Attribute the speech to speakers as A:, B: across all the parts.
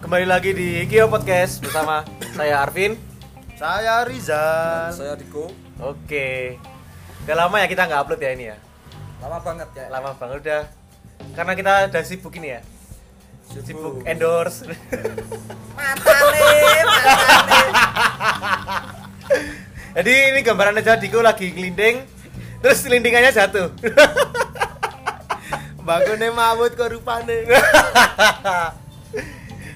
A: Kembali lagi di Gio Podcast bersama saya Arvin.
B: Saya Rizal.
C: Saya Diko.
A: Oke. Udah lama ya kita nggak upload ya ini ya.
C: Lama banget ya.
A: Lama banget udah. Karena kita udah sibuk ini ya. Sibuk
B: Eh,
A: endorse. Jadi ini gambaran aja Diko lagi ngelinding terus lindingannya jatuh.
B: Bangunnya mawut kok rupane.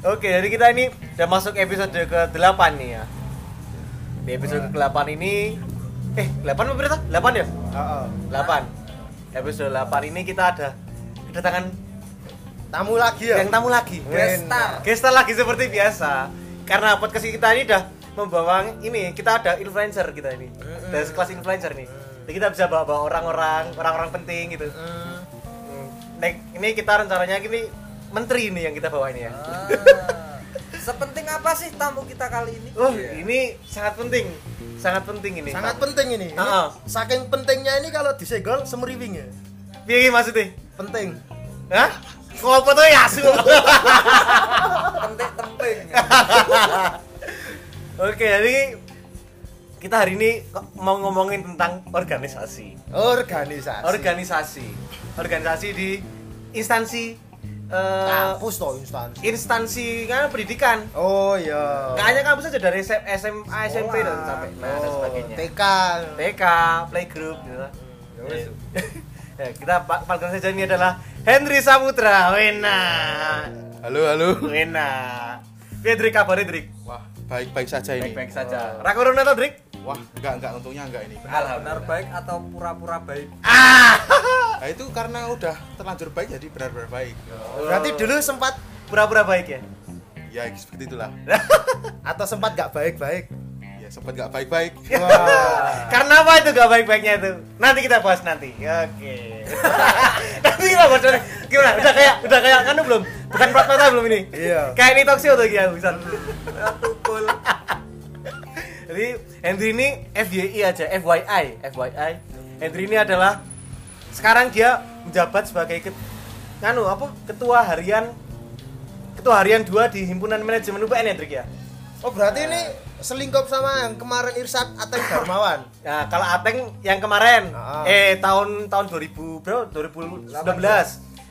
A: Oke, jadi kita ini udah masuk episode ke-8 nih ya. Di episode ke-8 ini eh 8 apa berita? 8 ya?
B: Heeh.
A: 8. Episode 8 ini kita ada kedatangan
B: Tamu lagi ya.
A: yang tamu lagi.
B: Guest star.
A: Gestar lagi seperti biasa. Karena podcast kita ini udah membawa ini, kita ada influencer kita ini. Dari kelas influencer nih. Jadi kita bisa bawa-bawa orang-orang, orang-orang penting gitu.
B: Hmm.
A: Hmm. Nek, ini kita rencananya gini menteri ini yang kita bawa ini ya.
C: Ah. Sepenting apa sih tamu kita kali ini?
A: Oh,
C: Iya.
A: ini sangat penting. Sangat penting ini.
B: Sangat penting ini. Ini
A: Heeh.
B: Saking pentingnya ini kalau disegol semeriwing ya.
A: Piye maksudnya?
B: Penting.
A: Hah? Ngopo tuh ya asu?
C: penting penting.
A: Oke, jadi kita hari ini kok mau ngomongin tentang organisasi.
B: Organisasi.
A: Organisasi. Organisasi di instansi eh
B: Kampus toh instansi.
A: instansi kan pendidikan.
B: Oh iya.
A: Kayaknya kampus aja dari SM SMA, SMP dan
C: Sekolah.
A: sampai nah, dan
B: Oh,
A: sebagainya.
B: TK.
A: TK, playgroup gitu. lah.
B: Ya wes.
A: Ya, kita pa- partner saja ini adalah Henry Saputra. Wena.
D: Halo, halo.
A: Wena. Piye Drik kabarnya Drik?
D: Wah, baik-baik saja ini.
A: Baik-baik
B: Ya.
A: saja. Ra corona to Drik?
D: Wah, enggak enggak untungnya enggak ini.
C: Benar baik atau pura-pura baik?
D: Nah, itu karena udah terlanjur baik jadi benar-benar baik.
B: Berarti dulu sempat
A: Pura-pura baik ya.
D: Ya, seperti itulah.
B: atau sempat gak baik-baik.
D: Ya, sempat enggak baik-baik.
B: Wah.
A: Karena apa itu gak baik-baiknya itu? Nanti kita bahas nanti. Oke. nanti kita bahas nanti. Gimana? Udah kayak udah kayak kan belum? Bukan plat mata belum ini?
B: Iya.
A: Kayak ini toksik atau gimana bisa?
C: Tukul.
A: Jadi Henry ini FYI aja, FYI, FYI. Henry ini adalah sekarang dia menjabat sebagai ket, nganu apa? Ketua harian Ketua harian 2 di Himpunan Manajemen UPN ya, Drik ya?
B: Oh berarti ini selingkuh sama yang kemarin Irsyad Ateng Darmawan.
A: Nah, kalau Ateng yang kemarin
B: Ah.
A: eh tahun tahun 2000 bro 2019.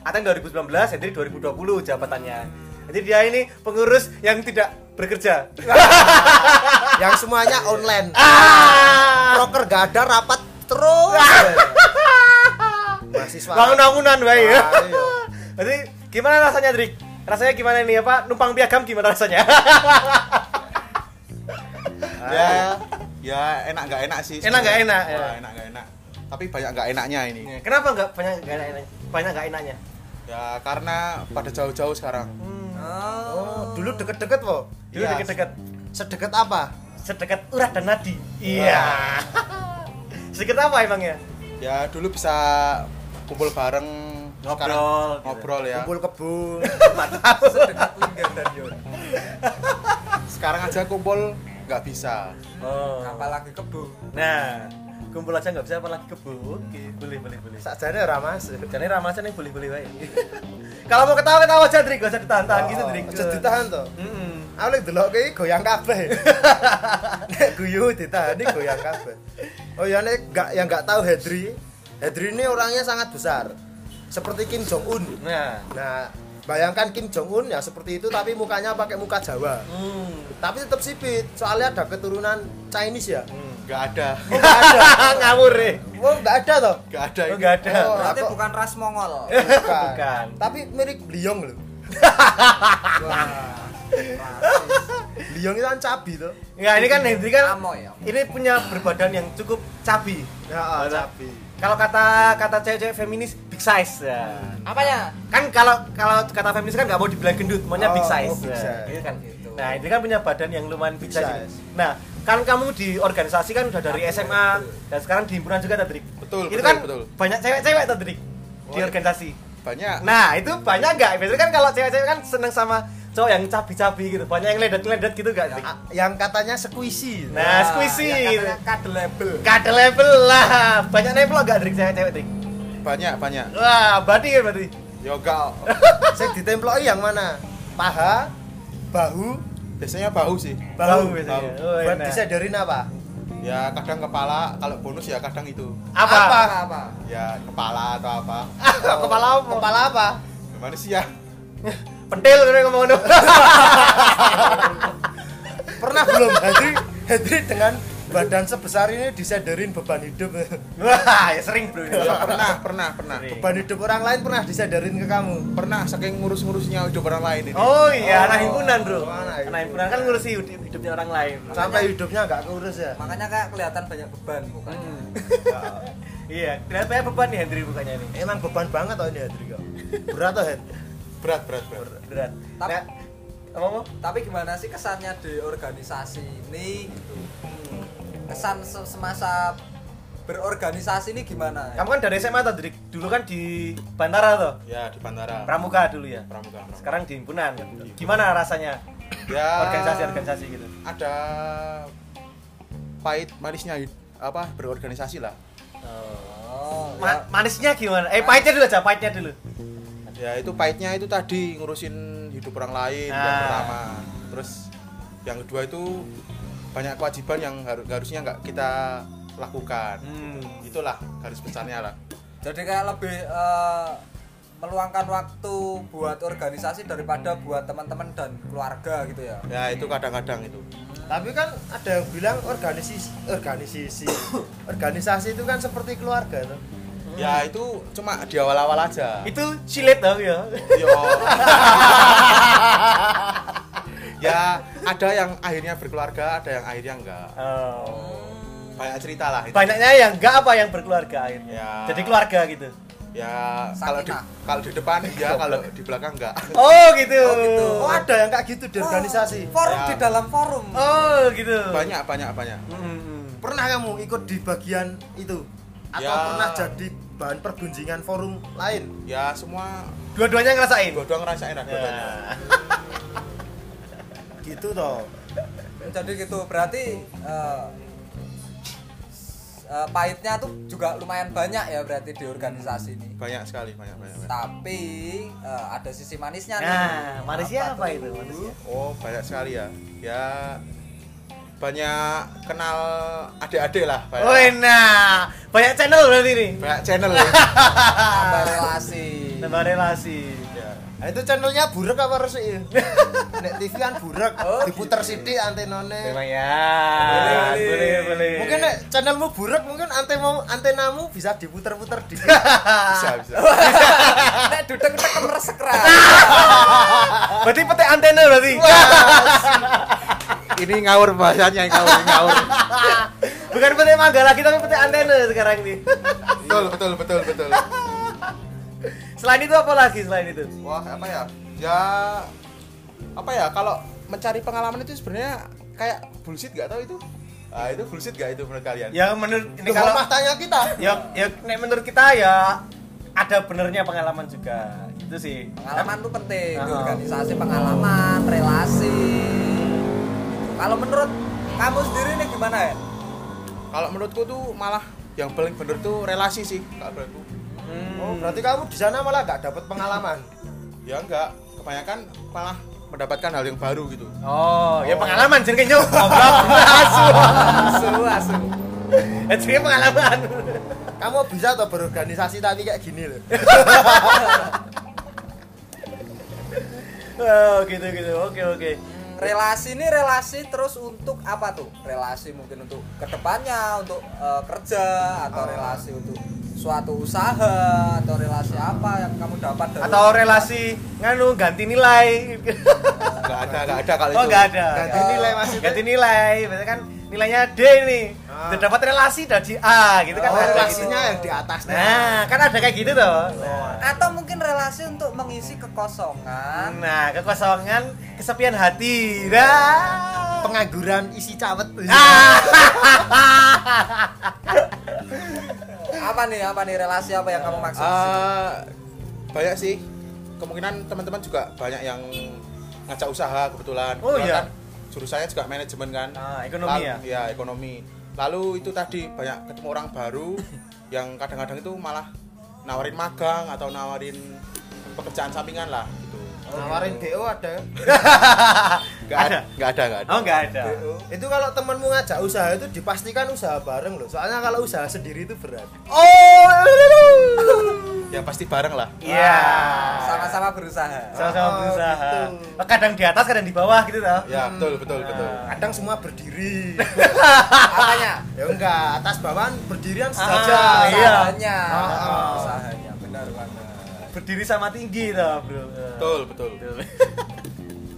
A: Ateng 2019, Hendri 2020 jabatannya. Jadi dia ini pengurus yang tidak bekerja.
B: yang semuanya online.
A: Ah!
B: Proker gak ada rapat terus. Mahasiswa.
A: Bangun-bangunan, baik.
B: Ah, iya.
A: Jadi gimana rasanya, Drik? Rasanya gimana ini apa? Numpang piagam gimana rasanya?
D: ya, ya enak enggak enak sih.
A: Enak nggak enak, ya.
D: Wah, enak enggak enak. Tapi banyak enggak enaknya ini.
B: Iya.
A: Kenapa nggak banyak nggak enak banyak nggak enaknya?
D: Ya, karena pada jauh-jauh sekarang.
B: Hmm.
A: Ah.
C: Oh.
B: Oh, dulu deket-deket po.
A: Dulu
D: Iya.
A: deket-deket
B: Sedekat apa?
A: sedekat urat dan nadi. Iya. Sedikit apa emangnya?
D: Ya, dulu bisa kumpul bareng sekarang
A: Ngobrol, gitu.
D: ngobrol ya.
B: Kumpul kebun.
C: Sedekat linggar dan yon.
D: Sekarang aja kumpul nggak bisa.
A: Oh.
C: Apalagi kebu.
A: Nah, kumpul aja nggak bisa apalagi kebo. Oke, boleh boleh boleh.
B: Sakjane ora masuk.
A: Jadi Ramasa nih boleh boleh baik. Kalau mau ketawa ketawa aja Drik, gak usah ditahan tahan gitu Drik.
B: Aja ditahan to.
A: Mm-mm.
B: Aku lagi delok iki goyang kabeh. Nek guyu ditahan iki goyang kabeh. Oh ya nek gak yang gak tahu Hedri. Hedri ini orangnya sangat besar. Seperti Kim Jong Un.
A: Nah,
B: Nah, bayangkan Kim Jong Un ya seperti itu tapi mukanya pakai muka Jawa.
A: hmm.
B: Tapi tetap sipit, soalnya ada keturunan Chinese ya.
A: hmm.
D: Nggak ada.
B: Oh, nggak ada.
A: ngawur deh.
B: Oh, nggak ada toh.
D: Nggak ada.
A: Oh,
D: ini.
A: nggak ada.
B: Oh,
C: Berarti
B: aku-
C: bukan ras Mongol.
B: Bukan.
A: Bukan.
B: Tapi mirip Liong loh.
C: Wah.
B: Liong itu kan cabi toh.
A: Nggak, ini kan Hendri kan
C: Amoy ya.
A: ini punya berbadan yang cukup cabi.
B: Ya, ah, cabi.
A: Kalau kata kata cewek-cewek feminis big size. Ya.
C: Apanya?
A: Kan kalau kalau kata feminis kan nggak mau dibilang gendut, maunya big
B: Oh,
A: size.
B: oh, big
A: Ya,
B: size.
A: gitu kan.
C: Gitu.
A: Nah, ini kan punya badan yang lumayan big
B: Big
A: size.
B: size.
A: ini. Nah, kan kamu di organisasi kan udah dari SMA dan sekarang di himpunan juga Tadrik.
D: Betul,
A: Itu
D: betul,
A: kan
D: betul.
A: banyak cewek-cewek Tadrik di
D: Oh,
A: organisasi.
D: Banyak.
A: Nah, itu banyak nggak? Biasanya kan kalau cewek-cewek kan seneng sama cowok yang cabi-cabi gitu, banyak yang ledet-ledet gitu nggak? Drik?
B: A- Ah, yang katanya squishy.
A: Nah, squishy.
C: Yang katanya kade label.
A: Kada level lah, banyak level nggak Drik cewek-cewek Drik?
D: Banyak, banyak.
A: Wah, berarti ya berarti.
D: Yoga
B: Saya ditemploki yang mana? Paha, bahu
D: biasanya bau sih
A: Bau
B: bahu,
A: biasanya.
B: bahu.
A: Oh,
B: buat
A: enak.
B: disadarin apa
D: ya kadang kepala kalau bonus ya kadang itu
A: Apa?
B: Apa?
C: Apa? apa?
D: ya kepala atau apa ya?
A: Kepala apa?
B: kepala apa
D: manusia
A: Pentil kan ngomong ngono.
B: pernah belum Hendri Hendri dengan badan sebesar ini disadarin beban hidup
A: Wah, ya sering bro. ini.
D: ya, pernah pernah pernah
A: Sering.
B: beban hidup orang lain pernah disadarin ke kamu
D: pernah saking ngurus-ngurusnya hidup orang lain ini
A: Oh iya,
B: Oh.
A: anak himpunan bro.
B: Oh, anak
A: Anak himpunan
B: himpunan.
A: kan ngurusi hidup- hidupnya orang lain.
B: sampai hidupnya nggak kurus ya
C: Makanya kayak kelihatan banyak beban mukanya.
A: Iya, kelihatannya beban nih Hendri bukannya ini.
B: emang beban banget oh ini Hendri kok berat oh Hendri
D: berat berat berat
A: Berat.
C: Tapi-
A: Nah, apa mau?
C: Tapi gimana sih kesannya di organisasi ini gitu? Kesan se- semasa berorganisasi ini gimana?
A: Kamu kan dari SMA tadi dulu kan di Bandara tuh,
D: ya di bandara
A: Pramuka dulu ya.
D: pramuka Pramuka.
A: Sekarang di himpunan. ya. Gimana rasanya
D: ya
A: organisasi-organisasi gitu?
D: ada pahit manisnya hid- apa berorganisasi lah
B: Ah.
C: Oh, ya.
A: Ma- manisnya gimana? Eh pahitnya dulu aja, pahitnya dulu.
D: ya itu pahitnya itu tadi ngurusin hidup orang lain yang
A: Ah.
D: pertama terus yang kedua itu banyak kewajiban yang haru- harusnya nggak kita lakukan
A: Hmm.
D: itulah garis besarnya lah
C: Jadi kayak lebih eh, meluangkan waktu buat organisasi daripada buat teman-teman dan keluarga gitu ya.
D: ya
A: Hmm.
D: itu kadang-kadang itu
B: tapi kan ada yang bilang organisasi organisasi organisasi itu kan seperti keluarga tuh
A: Hmm.
D: ya itu cuma di awal-awal aja
A: Itu silet dong ya.
D: Yo. ya ada yang akhirnya berkeluarga ada yang akhirnya enggak
A: Oh.
D: banyak cerita lah itu.
A: Banyaknya yang enggak apa yang berkeluarga akhirnya.
D: Ya.
A: Jadi keluarga gitu.
D: ya
C: Sakinah.
D: kalau di kalau di depan iya kalau di belakang enggak
A: Oh gitu.
C: Oh, gitu.
B: oh ada yang kayak gitu di organisasi
C: Oh, forum
D: Ya.
C: di dalam forum.
A: Oh, gitu.
D: banyak banyak banyak
A: Hmm.
B: pernah kamu ikut di bagian itu atau
D: Ya.
B: pernah jadi bahan pergunjingan forum lain
D: ya semua
A: Dua-duanya ngerasain. Nah,
D: dua-dua ngerasain
A: Ya.
D: lah dua-duanya
B: gitu toh
C: Jadi gitu berarti eh, s- eh, pahitnya tuh juga lumayan banyak ya berarti di organisasi ini.
D: banyak sekali banyak banyak, banyak.
C: Tapi eh, ada sisi manisnya nih.
A: Nah, manisnya apa itu?
C: tuh?
A: Manisnya.
D: oh banyak sekali ya ya banyak kenal adik-adik lah banyak
A: Oh, enak. Banyak channel berarti nih.
D: banyak channel ya.
C: Tambah relasi.
A: Tambah relasi.
D: ya.
B: Nah, itu channelnya burek apa resik? ya? Nek TV kan burek,
C: Oh,
B: diputer sidik antenone. Nah, gitu.
A: Memang ya.
C: Boleh,
A: Boleh,
C: boleh.
A: boleh.
B: Mungkin nek channelmu burek, mungkin antena antenamu bisa diputer-puter di.
D: bisa bisa
C: Nek dudek tekem resek ra.
A: berarti petik antena berarti.
D: ini ngawur bahasanya ngawur ngawur
A: Bukan petik mangga lagi tapi petik antena sekarang nih.
D: betul betul betul betul
A: Selain itu apa lagi selain itu?
D: wah apa ya ya apa ya kalau mencari pengalaman itu sebenarnya kayak bullshit nggak tahu itu ah itu bullshit nggak itu menurut kalian
A: Ya menurut ini
B: Ini kalau
A: kalau
B: tanya kita.
A: ya ya nek menurut kita ya ada benernya pengalaman juga. Itu sih.
C: Pengalaman tuh penting di
A: Ah.
C: organisasi, pengalaman, relasi. Kalau menurut kamu sendiri nih gimana ya?
D: kalau menurutku tuh malah yang paling bener tuh relasi sih kalau menurutku
A: Hmm.
B: Oh, berarti kamu di sana malah gak dapat pengalaman.
D: ya enggak kebanyakan malah mendapatkan hal yang baru gitu
A: Oh, ya pengalaman jenenge yo. Asu.
C: Asu, asu.
A: Eh, Jenenge pengalaman.
B: Kamu bisa toh berorganisasi tapi kayak gini loh.
A: Oh, gitu gitu. Oke, oke.
C: Relasi ini relasi terus untuk apa tuh? Relasi mungkin untuk kedepannya, untuk eh, kerja atau relasi untuk suatu usaha atau relasi apa yang kamu dapat dari
A: Atau relasi nganu ganti nilai.
D: enggak ada enggak ada kalau
A: Oh,
D: itu
A: enggak ada.
B: Ganti nilai maksudnya.
A: Ganti nilai. Biasanya kan nilainya D nih.
B: Ah.
A: Udah dapat relasi dari A gitu kan.
B: Oh,
A: ada kayak
B: relasinya
A: gitu.
B: yang di atasnya.
A: Nah, kan ada kayak gitu tuh. Nah,
C: atau mungkin relasi untuk mengisi kekosongan
A: Nah, kekosongan, kesepian hati. Nah.
B: Pengangguran isi cawet.
A: Ah.
C: apa nih apa nih relasi apa yang kamu maksud
D: Eh, banyak sih kemungkinan teman-teman juga banyak yang ngajak usaha kebetulan
A: Oh,
D: Kebetulan
A: iya.
D: kan jurusannya juga manajemen kan
A: Ah, ekonomi
D: Lalu-
A: ya?
D: iya ekonomi lalu itu tadi banyak ketemu orang baru yang kadang-kadang itu malah nawarin magang atau nawarin pekerjaan sampingan lah gitu
B: nawarin DO ada kan?
D: Enggak ada, enggak ada, enggak ada.
A: Oh nggak ada.
B: itu kalau temenmu ngajak usaha itu dipastikan usaha bareng loh soalnya kalau usaha sendiri itu berat
A: Oh.
D: Ya pasti bareng lah.
A: Iya.
C: sama-sama berusaha
A: Sama-sama
B: Oh,
A: berusaha.
B: gitu.
A: Kadang di atas, kadang di bawah gitu tau.
D: Ya, betul, betul, betul.
B: kadang semua berdiri
C: apanya
B: ya enggak atas bawahan berdirian
A: Ah,
B: saja
A: iya.
C: usahanya
B: Ah, ah.
C: usahanya benar banget
A: Berdiri sama tinggi tau bro.
D: Betul, betul.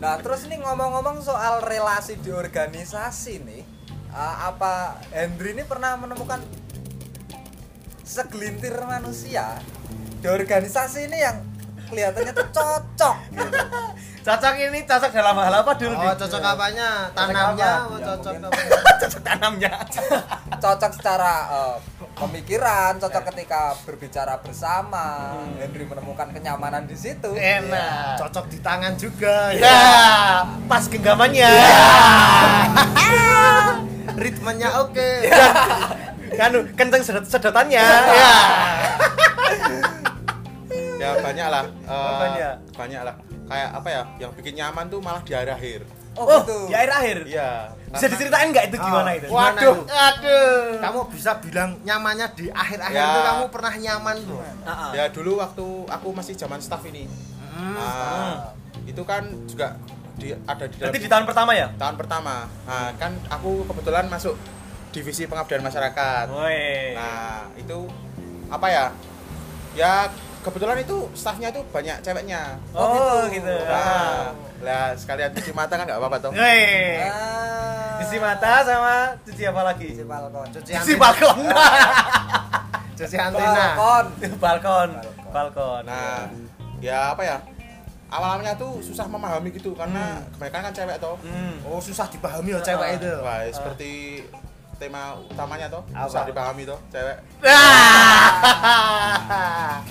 C: Nah, terus nih ngomong-ngomong soal relasi di organisasi nih, eh, apa Hendry ini pernah menemukan segelintir manusia di organisasi ini yang kelihatannya tuh cocok gitu.
A: Cocok ini cocok dalam hal apa dulu?
B: oh cocok apanya tanamnya oh, cocok apa
A: cocok tanamnya.
C: Cocok secara eh, pemikiran, cocok ketika berbicara bersama. Hendry menemukan kenyamanan di situ. Iya.
A: Enak.
B: cocok di tangan juga
A: Ya, pas genggamannya.
B: ritmenya oke
A: kan kenceng sedot- sedotannya. Ya.
D: Ya banyak lah. eh,
A: Banyak.
D: Banyak lah. Kayak apa ya? Yang bikin nyaman tuh malah di arah akhir.
C: Oh,
A: Oh,
C: gitu.
A: di akhir-akhir.
D: Iya.
A: Bisa diceritain nggak itu gimana itu?
B: Wah.
A: Waduh. Aduh.
B: kamu bisa bilang nyamannya di akhir-akhir
D: Ya.
B: itu kamu pernah nyaman tuh
A: Ah, ah.
D: Ya dulu waktu aku masih zaman staff ini.
A: Hmm,
D: Ah, itu kan juga di, ada di dalam
A: Berarti di tahun pertama ya?
D: tahun pertama. Nah, kan aku kebetulan masuk divisi pengabdian masyarakat.
A: Oh, Woi.
D: Nah, itu apa ya? Ya kebetulan itu stafnya itu banyak ceweknya.
A: Oh, gitu. Eh.
D: Nah, lah sekalian cuci mata kan nggak apa-apa toh.
A: Woi.
C: Ah.
A: Cuci mata sama cuci apa lagi?
C: Cuci balkon.
B: cuci
A: Cuci
B: antena
A: balkon.
B: cuci antena
C: Balkon.
A: balkon. Balkon.
D: Nah, ya apa ya? Awalnya tuh susah memahami gitu karena kebanyakan kan cewek toh.
A: Hmm.
B: oh susah dipahami loh cewek itu
D: Wah, seperti tema utamanya toh,
B: Apa?
D: susah dipahami toh cewek.
A: Ah.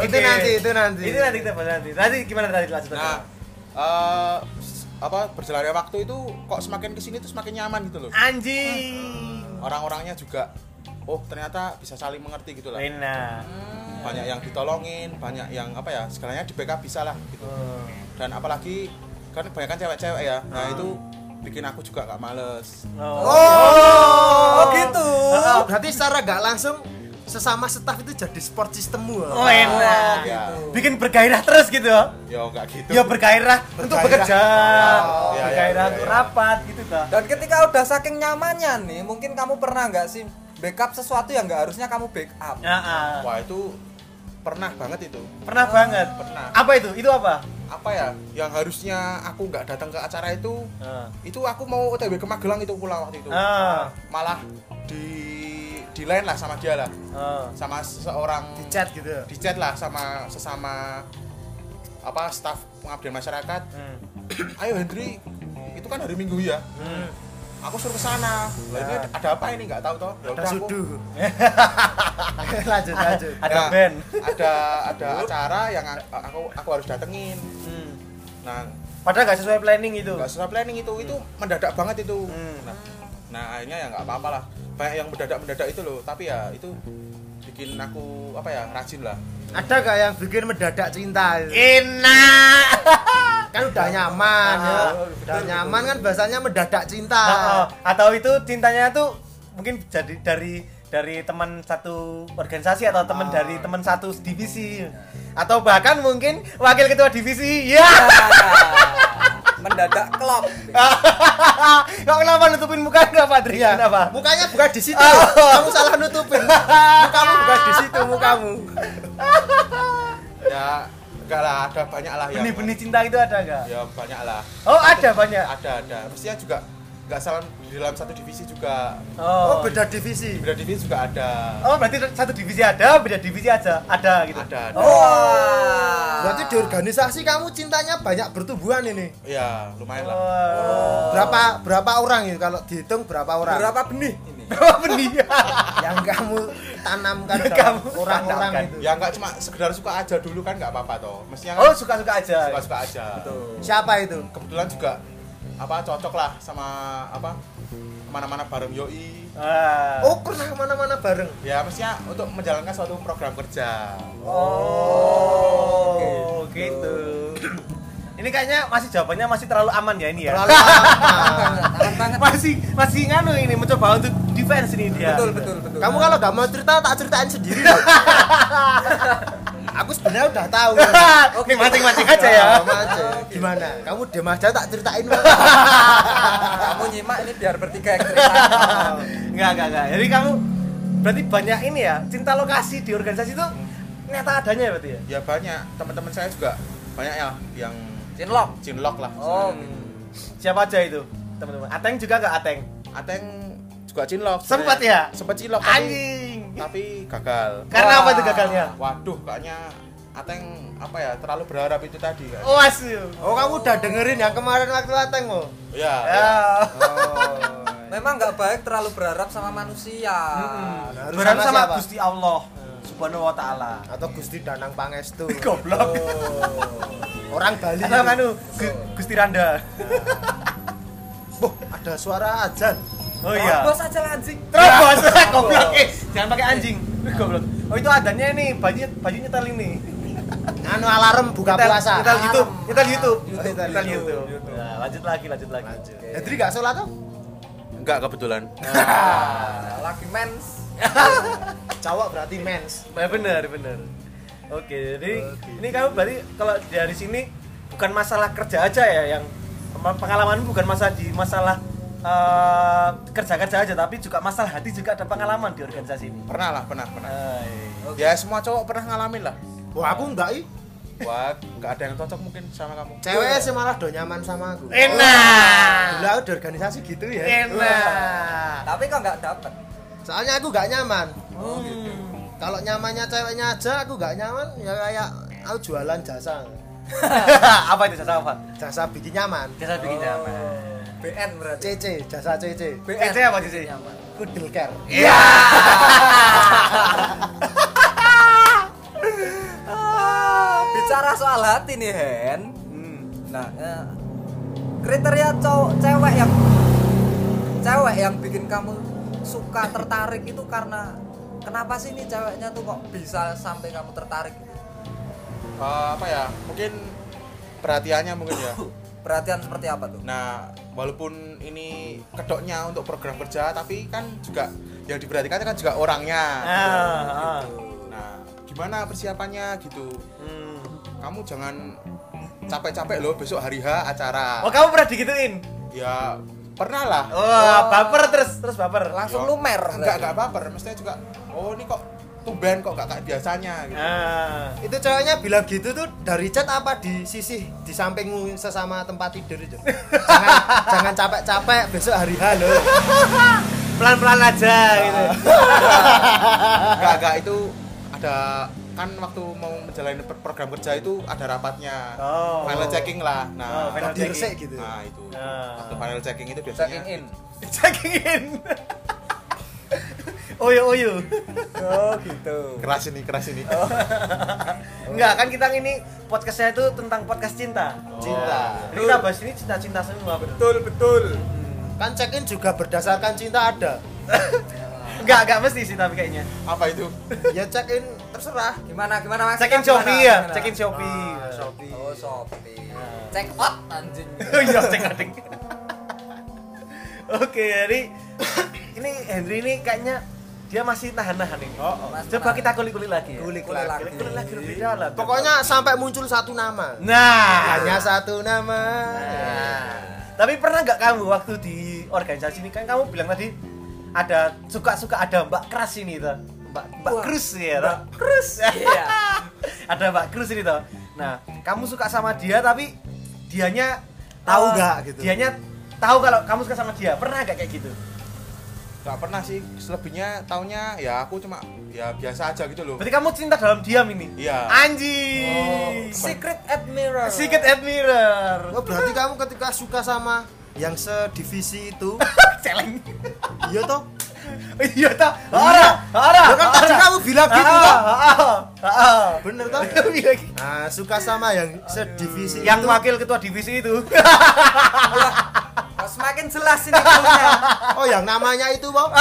B: Itu
A: Oke.
B: nanti, itu nanti.
A: Itu nanti kita bahas nanti. Nanti gimana tadi lanjut
D: Nah, eh apa berjalannya waktu itu kok semakin kesini tuh semakin nyaman gitu loh.
A: Anjing.
D: Orang-orangnya juga oh ternyata bisa saling mengerti gitu lah.
A: Enak.
D: Banyak yang ditolongin, banyak yang apa ya, segalanya di backup bisa lah gitu.
A: Oh.
D: Dan apalagi kan kebanyakan cewek-cewek ya. Nah, itu bikin aku juga gak males.
C: Oh, gitu.
B: Oh, berarti secara nggak langsung sesama staff itu jadi support systemmu
A: Oh,
B: ya?
A: enak.
D: Ya.
A: Bikin bergairah terus gitu.
D: Ya enggak gitu.
A: Ya bergairah untuk bekerja,
D: Oh, iya,
A: bergairah
D: iya,
A: untuk
D: iya.
A: rapat gitu toh.
C: Dan ketika udah saking nyamannya nih, mungkin kamu pernah nggak sih backup sesuatu yang nggak harusnya kamu backup?
A: Ya, ah.
D: Wah, itu pernah banget itu.
A: Pernah banget.
D: Pernah.
A: Apa itu? Itu apa?
D: Apa ya? Yang harusnya aku nggak datang ke acara itu, itu aku mau OTW ke Magelang itu pulang waktu itu.
A: Ah.
D: Malah di di lain lah sama dia lah.
A: Ah.
D: Sama seseorang
B: Di chat gitu.
D: di Oh. chat lah sama sesama apa staff pengabdian masyarakat
A: Hmm.
D: ayo Hendri itu kan hari Minggu ya aku suruh ke sana Lah, ini ada- ada apa ini nggak tahu toh Ya
B: Ada
D: udah, aku-
B: sudu. lanjut, lanjut.
A: Ada
D: Nah,
A: band.
D: ada ada acara yang a- aku aku harus datengin
A: Hmm.
D: nah
A: Padahal nggak sesuai planning itu.
D: nggak sesuai planning itu itu mendadak banget itu
A: Hmm.
D: nah, nah, akhirnya ya nggak apa-apa lah banyak yang mendadak mendadak itu loh tapi ya itu bikin aku apa ya rajin lah
B: Ada gak yang bikin mendadak cinta? itu?
A: Enak.
B: Kan udah nyaman
A: Ah,
B: ya.
A: betul,
B: Udah
A: betul.
B: nyaman kan bahasanya mendadak cinta.
A: Ah, ah. Atau itu cintanya tuh mungkin jadi dari dari teman satu organisasi atau teman
D: Ah.
A: dari teman satu divisi atau bahkan mungkin wakil ketua divisi ya
C: Mendadak klop.
A: kok kenapa nutupin muka kenapa Dri
B: Iya.
A: kenapa
B: Mukanya bukan di situ.
A: Oh.
B: Kamu salah nutupin. Mukamu bukan di situ, mukamu.
D: ya enggak lah ada banyak lah yang
A: benih-benih cinta itu ada nggak
D: ya banyak lah
A: oh ada banyak
D: ada ada mestinya juga nggak salah di dalam satu divisi juga
B: Oh,
A: oh
B: beda divisi.
D: beda divisi juga ada
A: oh berarti satu divisi ada beda divisi aja ada gitu
D: ada ada
C: Wah.
B: Berarti di organisasi kamu cintanya banyak bertumbuhan ini.
D: ya lumayan lah
A: oh.
B: Berapa berapa orang itu kalau dihitung berapa orang?
C: berapa benih ini?
A: berapa Oh, benih
B: yang kamu tanamkan
A: Yang
B: dalam
A: kamu
B: orang-orang
A: tanamkan.
B: itu.
D: ya nggak cuma sekedar suka aja dulu kan nggak apa-apa toh mestinya
A: oh
D: kan
A: suka-suka aja
D: suka-suka aja
B: Siapa itu?
D: kebetulan juga apa cocok lah sama apa kemana-mana bareng Yoi
A: Ah.
B: Oh pernah kemana-mana bareng.
D: ya mestinya untuk menjalankan suatu program kerja
A: Oh,
C: gitu.
A: gitu. Ini kayaknya masih jawabannya masih terlalu aman ya ini ya.
B: Terlalu lama.
C: Tangan banget.
A: masih masih nganu ini mencoba untuk defense ini dia.
C: Betul betul betul.
B: Kamu kalau gak mau cerita tak ceritain sendiri. loh. Aku sebenarnya udah tahu.
A: Oke, mancing-mancing aja ya.
B: Ah, Mace. Gimana? Kamu diem aja tak ceritain.
C: kamu nyimak ini biar bertiga yang cerita.
A: Enggak, enggak, enggak. Jadi kamu berarti banyak ini ya, cinta lokasi di organisasi itu
B: Hmm.
A: nyata adanya ya berarti ya.
D: ya banyak teman-teman saya juga banyak ya yang
C: Cinlok.
D: cinlok lah
C: Oh.
D: misalnya.
A: Siapa aja itu? Teman-teman. Ateng juga enggak Ateng?
D: Ateng juga cinlok
A: Sempat
D: sebenarnya.
A: ya?
D: sempat cinlok tapi,
A: Anjing.
D: tapi gagal
A: Karena apa
C: Wah.
A: itu ya? gagalnya?
D: waduh kayaknya Ateng apa ya terlalu berharap itu tadi kan
A: Oh, asyik.
B: Oh, kamu udah dengerin yang kemarin waktu oh. lateng loh.
D: ya, ya.
A: Ya.
B: Oh.
C: Memang nggak baik terlalu berharap sama manusia.
B: Harus
A: Berharap
B: sama
A: sama
B: siapa?
A: Gusti Allah Subhanahu wa taala.
B: Atau Gusti Danang Pangestu. Oh.
A: Goblok.
B: Orang Bali.
A: Atau anu Gu-
B: Oh.
A: Gusti Randa.
B: Boh, ada suara azan.
A: Oh iya.
C: Bos aja lah, anjing.
A: Terobos goblok. Eh, jangan pakai anjing. Goblok. Oh itu adanya ini, baju baju nyetel ini.
B: Anu alarm buka
A: Nyetel-
B: puasa. Ah.
A: Nyetel YouTube, nyetel YouTube.
B: YouTube,
A: Nyetel
B: YouTube.
A: YouTube. Nah, lanjut lagi, lanjut lagi.
B: Hendri gak sholat tuh?
D: enggak kebetulan
C: Nah, lagi mens.
B: Cowok berarti mens.
A: Ya benar, benar. Oke, jadi
B: Oke.
A: ini kamu berarti kalau dari sini bukan masalah kerja aja ya yang pengalaman bukan masalah di masalah eh, kerja-kerja aja tapi juga masalah hati juga ada pengalaman di organisasi ini.
D: pernah lah pernah pernah
A: Hai.
D: ya semua cowok pernah ngalamin lah
B: Wah, aku enggak i.
D: wah nggak ada yang cocok mungkin sama kamu
B: Cewek sih malah do nyaman sama aku. Dulu
A: Enak.
B: aku di organisasi gitu ya.
A: Enak.
C: Tapi kok nggak dapet?
B: Soalnya aku gak nyaman.
C: Oh, gitu.
A: Hmm.
B: Kalau nyamannya ceweknya aja aku gak nyaman ya kayak aku jualan jasa.
A: apa itu jasa apa?
B: Jasa bikin nyaman.
A: Jasa bikin nyaman.
C: BN Oh, berarti.
B: CC, jasa CC.
A: CC apa CC?
C: Nyaman.
B: Kudel care.
A: Iya.
C: Ah, bicara soal hati nih, Hen. Nah, eh, kriteria cowok cewek yang cewek yang bikin kamu suka tertarik itu karena kenapa sih ini ceweknya tuh kok bisa sampai kamu tertarik?
D: Eh, apa ya mungkin perhatiannya mungkin ya
C: Perhatian seperti apa tuh?
D: Nah, walaupun ini kedoknya untuk program kerja, tapi kan juga yang diperhatikan kan juga orangnya.
A: Ah, ah.
D: Nah, gimana persiapannya gitu?
A: Hmm.
D: Kamu jangan capek-capek loh besok hari H acara.
A: Oh kamu pernah digituin?
D: Ya pernah lah.
A: Wah Oh, baper terus terus baper.
C: Langsung
D: Ya,
C: lumer.
D: Enggak enggak baper, mestinya juga oh ini kok tumben kok gak kayak biasanya gitu.
A: Ah.
B: Itu ceweknya bilang gitu tuh dari chat apa di sisi di sampingmu sesama tempat tidur itu. Jangan jangan capek-capek besok hari halo.
A: Pelan-pelan aja gitu.
D: Enggak enggak itu ada kan waktu mau menjalani per- program kerja itu ada rapatnya.
A: Oh.
D: Final checking lah. Nah,
A: Oh, final
B: Diresek
A: checking.
B: gitu.
D: Nah, itu.
A: Ah.
D: Waktu final checking itu biasanya
C: Checking in.
B: Iya.
A: Checking in. Oyo oyo.
C: Oh, gitu.
D: keras ini keras ini
A: Oh. Enggak kan kita ini podcastnya itu tentang podcast cinta.
B: Cinta.
A: Jadi kita bahas ini cinta-cinta semua.
C: Betul, betul.
B: Kan check-in juga berdasarkan cinta ada.
A: Enggak enggak mesti sih tapi kayaknya.
D: apa itu
B: Ya check-in terserah.
C: Gimana gimana Mas?
A: Check in
C: Gimana?
A: Shopee ya,
C: Gimana?
A: check in Shopee. Shopee.
C: Oh, Shopee. Nah. Check out anjing.
A: Iya, ceng ading. Oke, jadi ini Henry ini kayaknya dia masih nahan-nahan ini.
C: Mas,
A: Coba
C: nahan.
A: kita kulik-kulik lagi. ya.
B: Kulik
C: lagi.
A: Kulik-kulik lagi lebih dalam.
B: Pokoknya sampai muncul satu nama.
A: nah,
B: Hanya satu nama.
A: Nah. Tapi pernah nggak kamu waktu di organisasi ini kan kamu bilang tadi ada suka-suka ada Mbak Kras ini tuh. Mbak Mbak
C: Wah,
A: Krus ya.
C: Mbak
A: toh? Krus.
C: Iya.
A: ada Mbak Krus ini toh. Nah, kamu suka sama dia tapi dianya eh,
B: Tahu nggak gitu?
A: Dianya tahu kalau kamu suka sama dia. Pernah nggak kayak gitu?
D: nggak pernah sih selebihnya taunya ya aku cuma ya biasa aja gitu loh
A: Berarti kamu cinta dalam diam ini.
D: Iya.
A: Anjing.
C: Secret admirer.
A: Secret admirer.
B: Oh, berarti kamu ketika suka sama yang sedivisi itu,
A: Celeng.
B: iya toh?
A: Iya toh. Ora, ora.
B: Ya kan tadi kamu bilang
A: Ah,
B: gitu toh.
A: Heeh. Heeh.
B: Bener toh? Nah, suka sama yang sedivisi
A: yang
B: itu.
A: wakil ketua divisi itu
C: Oh, semakin jelas ini punya.
B: Oh, yang namanya itu, Bang.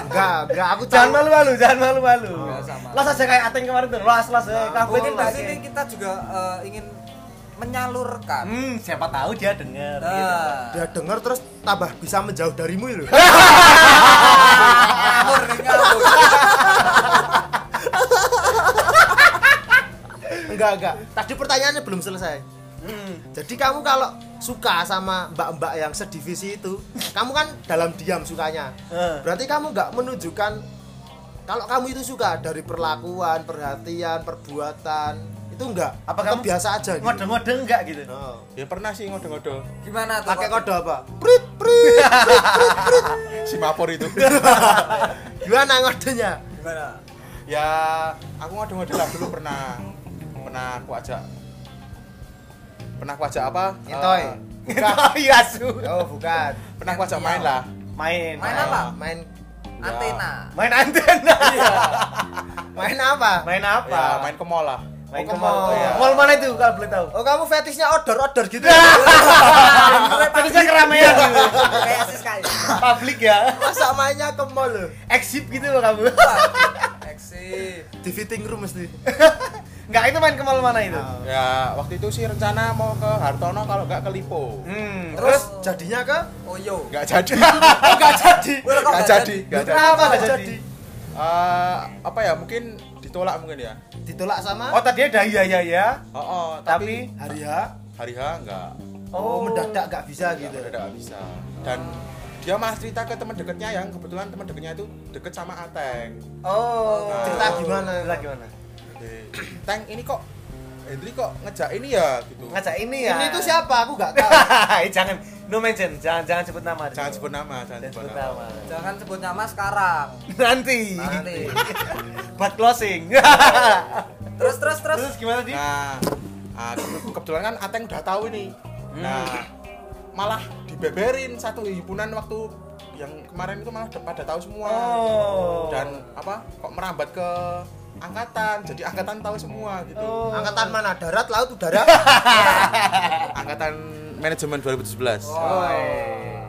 B: Enggak, enggak aku
A: Ah. jangan
B: tahu.
A: malu-malu jangan malu-malu
C: Nggak sama.
A: las aja kayak ateng kemarin tuh las las eh,
C: Mungkin
A: kamu
C: di
A: las
C: sini
A: eh.
C: kita juga eh, ingin menyalurkan.
A: hmm siapa tahu dia denger gitu.
C: Nah,
B: dia dengar terus tambah bisa menjauh darimu lho
A: Eh.
C: ngawur nih, ngawur.
B: enggak enggak tadi pertanyaannya belum selesai
A: Hmm.
B: jadi kamu kalau suka sama mbak-mbak yang sedivisi itu kamu kan dalam diam sukanya
A: Eh.
B: berarti kamu nggak menunjukkan kalau kamu itu suka dari perlakuan perhatian perbuatan itu enggak
A: apa
B: Tetap
A: kamu
B: biasa aja gitu
A: ngode-ngode enggak gitu
B: Oh.
D: ya pernah sih ngodo-ngodo
C: Gimana tuh?
B: pakai
C: Pak?
B: kode apa prit prit
D: si mapor itu
B: gimana ngodenya
C: Gimana?
D: ya aku ngodo-ngodo lah dulu pernah pernah aku ajak pernah aku ajak apa
B: Nyentoy.
D: Eh,
A: oh iya su
B: oh bukan
D: pernah aku
C: Iya.
D: ajak main lah
A: main
C: Main apa?
B: main
D: Ya.
C: Antena.
A: main antena
B: main apa
A: Iya. main apa
D: ya main ke mall lah
A: main
B: Oh,
A: ke
B: ke
A: mall
B: mall.
A: ya. mall mana itu kalau boleh tahu
B: oh kamu fetishnya odor odor gitu
A: tapi saya Ah. keramaian gitu
C: Kayak sis kali.
A: publik ya
B: masa mainnya ke mall loh
A: exhib gitu loh kamu
C: Eksib.
B: di fitting room mesti
A: enggak itu main ke mall mana itu
D: ya waktu itu sih rencana mau ke Hartono kalau nggak ke Lipo
A: hmm
B: terus
A: terus
B: jadinya ke
C: Oyo.
D: nggak jadi
B: enggak jadi
C: Wah, kok
D: Oh, nggak
C: nggak
D: jadi nggak jadi
A: kenapa enggak
B: Nggak
A: jadi
B: jadi.
D: Eh, apa ya mungkin ditolak mungkin ya
B: ditolak sama
A: oh tadi ada iya iya ya
D: oh, oh tapi,
A: tapi
B: hari H
D: hari H nggak
B: oh mendadak nggak bisa
D: gitu
B: gitu
D: udah nggak bisa dan dia malah cerita ke teman dekatnya yang kebetulan teman dekatnya itu deket sama Ateng
A: oh
B: cerita gimana
A: cerita gimana
D: Eh, Teng ini kok Hendri kok ngejak ini ya gitu
A: ngajak ini ya
B: Iya. ini tuh siapa aku nggak tahu
A: Eh, jangan no mention jangan jangan sebut nama
D: jangan sebut nama jangan
A: Jangan
D: sebut
A: sebut
D: nama
A: nama
C: Jangan sebut nama sekarang.
A: nanti
C: Nanti.
A: buat closing
C: Terus terus terus.
A: terus gimana di
D: nah ah, ke- kebetulan kan Ateng udah tahu ini
A: Hmm.
D: nah malah dibeberin satu himpunan waktu yang kemarin itu malah pada tahu semua
A: Oh.
D: dan apa kok merambat ke angkatan jadi angkatan tahu semua gitu
A: Oh.
B: angkatan mana darat laut udara
D: angkatan manajemen 2017
A: Oh. Woi. iya.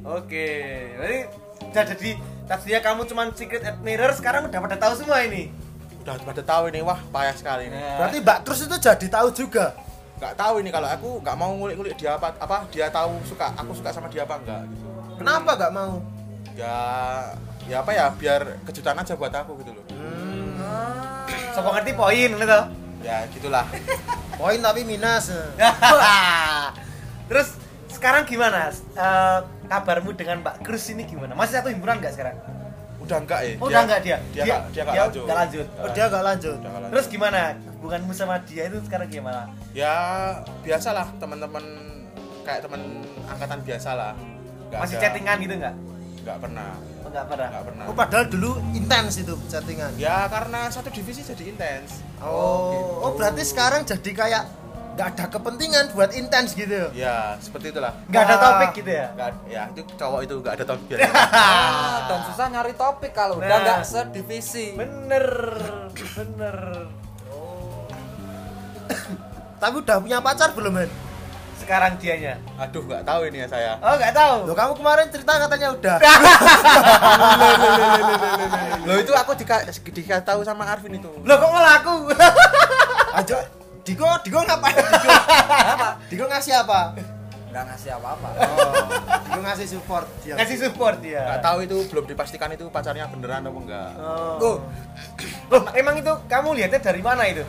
A: Oke, berarti udah jadi tadinya kamu cuman secret admirer sekarang udah pada tahu semua ini.
D: udah pada tahu ini wah payah sekali ini
A: Nah.
B: berarti mbak terus itu jadi tahu juga
D: nggak tahu ini kalau aku nggak mau ngulik-ngulik dia apa apa dia tahu suka aku suka sama dia apa enggak gitu
B: kenapa nggak mau
D: ya ya apa ya biar kejutan aja buat aku gitu loh
A: Sopo ngerti poin ini toh.
D: ya gitulah
B: poin tapi minus
A: Terus sekarang gimana? Eh, kabarmu dengan Mbak Kris ini gimana? Masih satu himpunan nggak sekarang?
D: udah enggak ya
A: Oh, udah nggak dia? Dia-
D: dia nggak- dia nggak
A: dia
D: lanjut
A: nggak lanjut.
D: Nggak
B: oh, dia nggak lanjut
D: Udah nggak lanjut.
A: Terus gimana hubunganmu sama dia itu sekarang gimana?
D: ya biasalah teman-teman kayak teman angkatan biasalah Nggak
A: Masih
D: ada-
A: chattingan gitu nggak?
D: nggak pernah
A: Oh, nggak pernah.
D: nggak pernah
B: oh, padahal dulu intens itu chattingan
D: ya karena satu divisi jadi intens
B: oh oh berarti sekarang jadi kayak nggak ada kepentingan buat intens gitu
D: ya seperti itulah
A: Nggak ada
B: Wah.
A: topik gitu ya?
D: nggak ya itu cowok itu nggak ada topik biar
C: Ah, dan susah nyari topik kalau udah
A: Nah.
C: nggak sedivisi.
A: Bener, bener.
B: tapi udah punya pacar belum men
A: Sekarang dianya.
D: aduh nggak tahu ini ya saya
A: Oh nggak tahu.
B: Loh kamu kemarin cerita katanya udah.
D: Loh itu aku dika dikasih tahu sama Arvin itu.
A: Loh kok malah aku?
B: Ajo, Diko, Diko ngapain? Diko,
C: Apa?
B: Diko ngasih apa?
C: Nggak ngasih apa-apa.
B: Oh, Diko ngasih support dia.
A: Kasih support ya.
D: Enggak tahu itu belum dipastikan itu pacarnya beneran apa enggak.
A: Oh.
C: Tuh,
A: Loh, emang itu kamu lihatnya dari mana itu?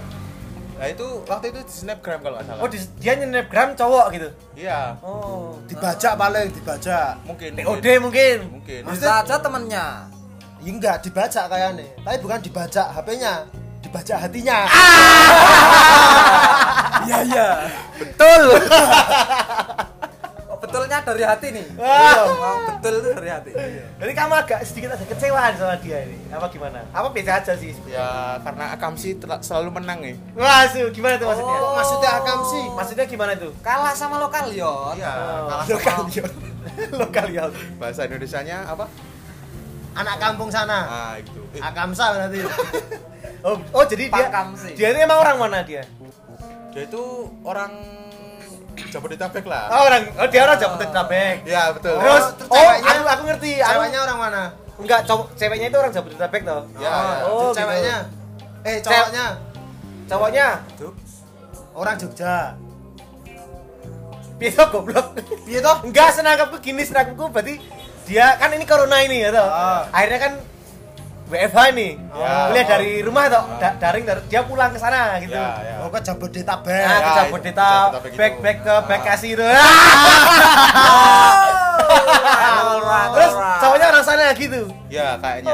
D: Nah itu waktu itu di Snapgram kalau nggak salah.
A: Oh, di, dia snapgram cowok gitu.
D: Iya,
A: Oh.
B: Dibajak paling dibajak.
D: mungkin.
A: TOD
D: mungkin.
A: mungkin.
D: Mungkin.
C: bisa aja temennya.
B: Ya enggak dibajak kayaknya. Tapi bukan dibajak HP-nya, dibajak hatinya.
A: Ah!
C: Iya iya.
D: Betul.
C: Oh, betulnya dari hati nih.
A: Wah.
C: Oh, betul tuh dari hati.
A: Jadi kamu agak sedikit ada kecewaan sama dia ini. Apa gimana? Apa biasa aja sih?
D: ya karena Akamsi tel- selalu menang ya. nih.
A: Wah, Su, gimana tuh maksudnya?
B: Oh, maksudnya akam sih.
A: Maksudnya gimana tuh?
C: Kalah sama lokal yon.
D: Iya,
A: Oh.
D: kalah
B: Loh,
D: sama
B: kalian.
A: Lokal ya.
D: bahasa Indonesianya apa?
B: Anak kampung sana.
D: Ah, itu. Eh,
B: Akamsa berarti.
A: Oh, oh jadi dia
C: Pakam sih.
A: dia ini emang orang mana dia?
D: dia itu orang Jabodetabek lah.
A: Oh, orang oh dia orang Jabodetabek.
D: Iya, betul.
A: Terus,
B: terus
A: oh,
B: ceweknya-
A: aku, aku ngerti. Aku,
B: Ceweknya orang mana?
A: enggak, cowok, ceweknya itu orang Jabodetabek toh.
D: Ya, ya.
A: Oh,
B: Terus ceweknya. Eh, cowoknya
A: Cowoknya
C: Tuh.
B: orang Jogja.
A: Piye toh, goblok?
B: Piye toh?
A: Enggak senangkapku gini senangkapku berarti dia kan ini corona ini ya toh.
B: Ah.
A: Akhirnya kan WFH nih.
D: Ya.
A: Kuliah dari rumah toh, da- daring dari- dia pulang ke sana gitu.
D: Ya, ya.
B: Oh, kok Jabodetabek.
A: Nah,
D: Ya,
A: ke
D: itu,
A: Jabodetabek,
D: Jabodetabek
A: back
D: gitu.
A: back ke
D: Ah.
A: Bekasi itu. Terus cowoknya orang sana gitu.
D: Ya, kayaknya.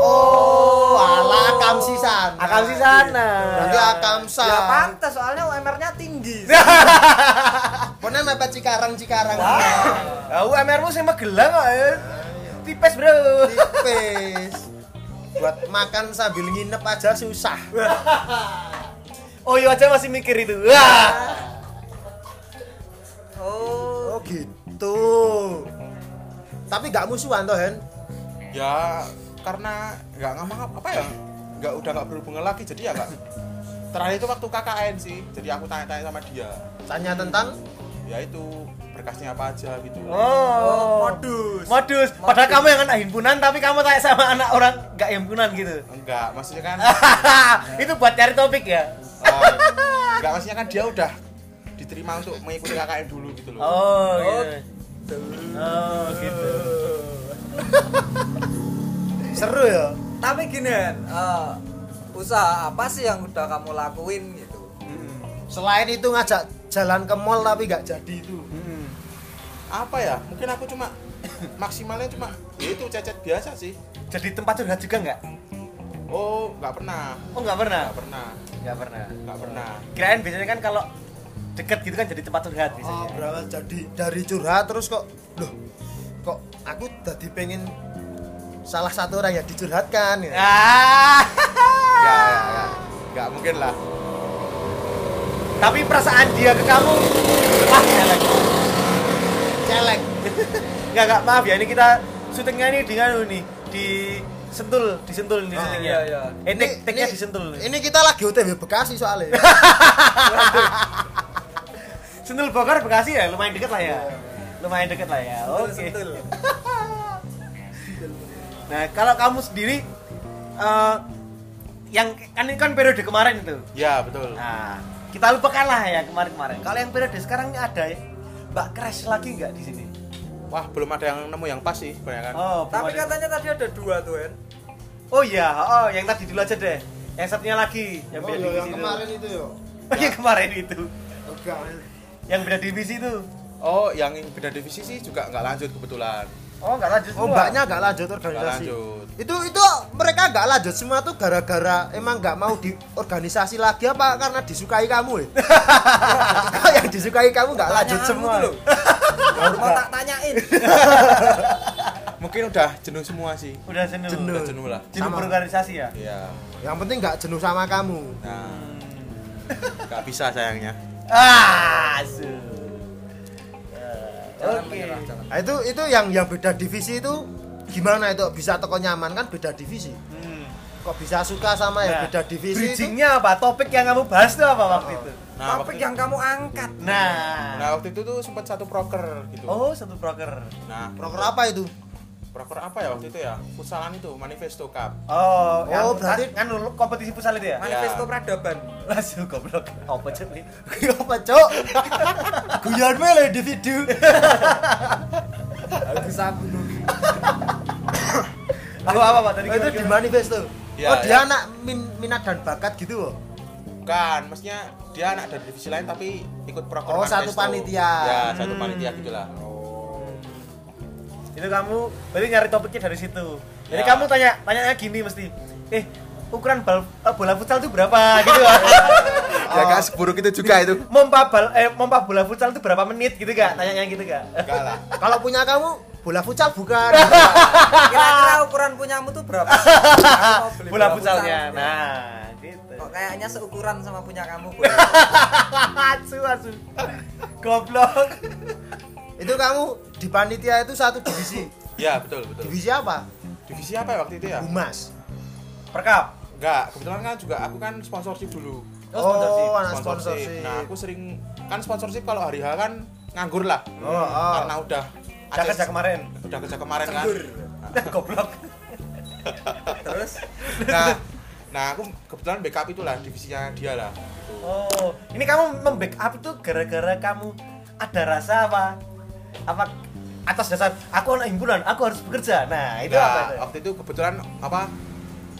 B: Oh, ala Akamsi sana.
A: Akam Nah. sih sana.
B: Berarti Akamsa.
C: Ya pantas soalnya UMR-nya tinggi.
A: Ya.
B: Pokoknya mepet Cikarang-Cikarang.
A: Ah, UMR-mu sing Magelang kok. ya. Tipes, Bro.
B: Tipis. Buat makan sambil nginep aja susah.
A: Oh, iya aja masih mikir itu. Wah.
C: Oh.
B: Oh, gitu. Tapi nggak musuhan toh, Hen?
D: Ya, karena nggak ngomong apa- apa ya? Nggak udah nggak berhubungan lagi, jadi ya nggak. Terakhir itu waktu KKN sih, jadi aku tanya-tanya sama dia.
B: Tanya tentang
D: Ya itu berkasnya apa aja gitu.
A: Oh.
C: Modus.
A: Modus. Padahal kamu yang anak himpunan tapi kamu tanya sama anak orang nggak himpunan gitu.
D: Enggak, maksudnya kan
A: itu buat cari topik ya.
D: eh, enggak maksudnya kan dia udah diterima untuk mengikuti KKN dulu gitu loh.
A: Oh, gitu. Oh, gitu.
B: seru ya.
C: Tapi gini, Hen, eh, usaha apa sih yang udah kamu lakuin gitu?
A: Hmm.
B: Selain itu ngajak jalan ke mall tapi nggak jadi itu.
A: Hmm.
D: Apa ya? Mungkin aku cuma maksimalnya cuma ya itu cecet biasa sih.
A: Jadi tempat curhat juga nggak?
D: Oh, nggak pernah.
A: Oh, nggak pernah.
D: Nggak pernah.
A: Nggak pernah.
D: Nggak pernah.
A: Kirain biasanya kan kalau deket gitu kan jadi tempat curhat
B: Oh,
A: biasanya.
B: berawal jadi dari curhat terus kok loh kok aku tadi pengen salah satu orang yang dicurhatkan ya.
A: Ah.
D: Ya, ya, ya. Nggak mungkin lah.
A: Tapi perasaan dia ke kamu wah ya, elek.
B: celek
A: Nggak, nggak, maaf ya ini kita syutingnya ini dengan ini di sentul disentul ini syutingnya
C: iya, iya.
A: eh take take-nya disentul
B: ini kita lagi OTW Bekasi soalnya
A: Sentul Bogor Bekasi ya lumayan deket lah ya. Lumayan deket lah ya. Oke.
C: Sentul.
A: Nah, kalau kamu sendiri eh, yang kan ini kan periode kemarin itu.
D: Ya, betul.
A: Nah, kita lupakan lah ya kemarin-kemarin. Kalau yang periode sekarang ini ada ya? Mbak Crash lagi nggak di sini?
D: Wah, belum ada yang nemu yang pas sih, kebanyakan.
A: Oh, belum
C: Tapi
A: ada.
C: katanya tadi ada dua tuh, Hen.
A: Oh iya, oh yang tadi dulu aja deh. Yang satunya lagi iya, yang
B: oh,
A: beda
B: yo,
A: divisi
B: yang
A: itu.
B: kemarin itu yo
A: Oh, yang kemarin itu.
B: Enggak.
A: Yang beda divisi itu.
D: Oh, yang beda divisi sih juga nggak lanjut kebetulan.
A: Oh, nggak lanjut
B: oh
A: semua.
B: mbaknya nggak lanjut organisasi
D: Nggak lanjut.
B: itu itu mereka nggak lanjut semua tuh gara-gara emang nggak mau di organisasi lagi apa karena disukai kamu ya Kalau yang disukai kamu nggak lanjut
C: Pertanyaanmu
B: semua
C: tuh loh. Mau tak tanyain.
A: Nah,
D: Ah, Mungkin udah jenuh semua sih.
A: Udah jenuh.
B: Jenuh.
D: Udah jenuh lah.
A: Jenuh
B: Sama.
A: berorganisasi ya?
D: Iya.
B: yang penting nggak jenuh sama kamu
D: Nah, nggak bisa sayangnya.
A: Ah, su. Eh,
C: Jangan
A: Oke.
C: menyerah, jangan.
B: Nah, itu itu yang yang beda divisi itu gimana itu bisa teko nyaman kan beda divisi.
A: Hmm.
B: Kok bisa suka sama yang
A: Nah,
B: beda divisi itu?
A: Bridgingnya Oh. apa? Topik yang kamu bahas tuh apa waktu itu?
D: Nah,
C: Topik
D: waktu,
C: yang kamu angkat.
A: Nah.
D: nah, waktu itu tuh sempat satu proker gitu.
A: Oh, satu broker.
D: Nah,
B: Proker apa itu?
D: proker apa ya waktu itu ya? Futsalan itu, Manifesto Cup.
A: Oh,
B: Oh,
A: yang-
B: berarti-
A: kan dulu kompetisi futsal itu ya?
C: Manifesto peradaban.
A: Langsung goblok. Apa cek ini?
B: apa, Cok? Guyon mele individu.
C: Agus Agus.
A: Apa apa Pak tadi?
B: Oh, itu
A: gimana,
B: di
A: gimana?
B: manifesto.
D: Iya,
B: oh, dia
D: iya.
B: anak min- minat dan bakat gitu loh.
D: Bukan, maksudnya dia anak dari divisi lain tapi ikut proker
B: Oh, satu
D: Manifesto.
B: panitia.
D: Ya, satu panitia gitu lah.
A: Itu kamu berarti nyari topiknya dari situ. Jadi
D: Ya.
A: kamu tanya tanyanya gini mesti. Eh, ukuran bal- eh, bola futsal itu berapa gitu kan.
D: Ya kan seburuk itu juga itu.
A: Mompa bal eh mompa bola futsal itu berapa menit gitu gak? Tanyanya gitu gak?
D: Enggak lah.
B: Kalau punya kamu bola futsal bukan.
C: Kira-kira ukuran punyamu tuh berapa? sih? Aku mau beli
A: Bola futsalnya.
C: futsal.
A: Nah, gitu.
C: Kok kayaknya seukuran sama punya kamu, Bu.
A: asu asu. Goblok.
B: itu kamu di panitia itu satu divisi.
D: Ya, betul, betul.
B: Divisi apa?
D: Divisi apa ya waktu itu ya?
B: Humas.
A: Perkap.
D: Enggak, kebetulan kan juga aku kan sponsorship dulu.
A: Oh, sponsorship.
B: anak sponsorship.
D: Nah, aku sering kan sponsorship kalau hari H kan nganggur lah.
B: Oh, oh.
D: Karena udah
A: Udah kerja kemarin.
D: udah kerja kemarin kan.
C: Cenggur.
A: Goblok.
C: Terus
D: Nah, nah aku kebetulan backup itulah divisinya dia lah.
A: Oh, ini kamu membackup itu gara-gara kamu ada rasa apa apa atas dasar aku anak himpunan aku harus bekerja nah
B: Ya,
A: itu
D: Nah,
A: apa itu?
D: waktu itu kebetulan apa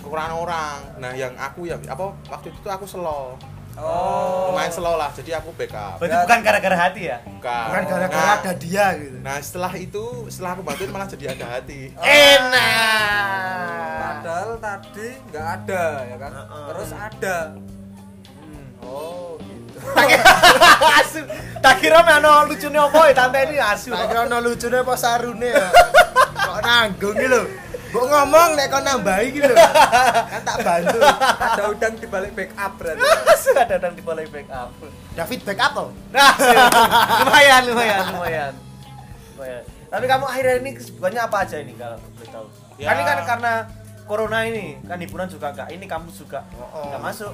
D: kekurangan orang nah yang aku ya apa waktu itu tuh aku slow
C: Oh.
D: lumayan slow lah jadi aku backup
A: berarti bukan gara-gara hati ya
D: bukan
B: bukan Kan gara-gara
D: Nah,
B: ada dia gitu
D: nah setelah itu setelah aku bantuin malah jadi ada hati
B: Oh.
A: enak
C: Padahal tadi nggak ada ya kan.
A: Nah. Heeh.
C: Terus ada. Oh gitu.
A: asu tak kira mana lucunya apa ya tante ini asu
B: tak kira ono lucune apa sarune ya kok nanggung iki lho kok ngomong nek kok nambahi iki lho kan tak bantu
C: Ada udang di balik backup berarti.
A: asu ada dan di balai backup
B: David back up toh
A: nah asu. lumayan lumayan lumayan lumayan tapi kamu akhirnya ini kesibukannya apa aja ini kalau boleh tahu
D: Ya.
A: kan ini kan karena corona ini kan hiburan juga enggak ini kamu juga
B: Oh, oh.
A: enggak masuk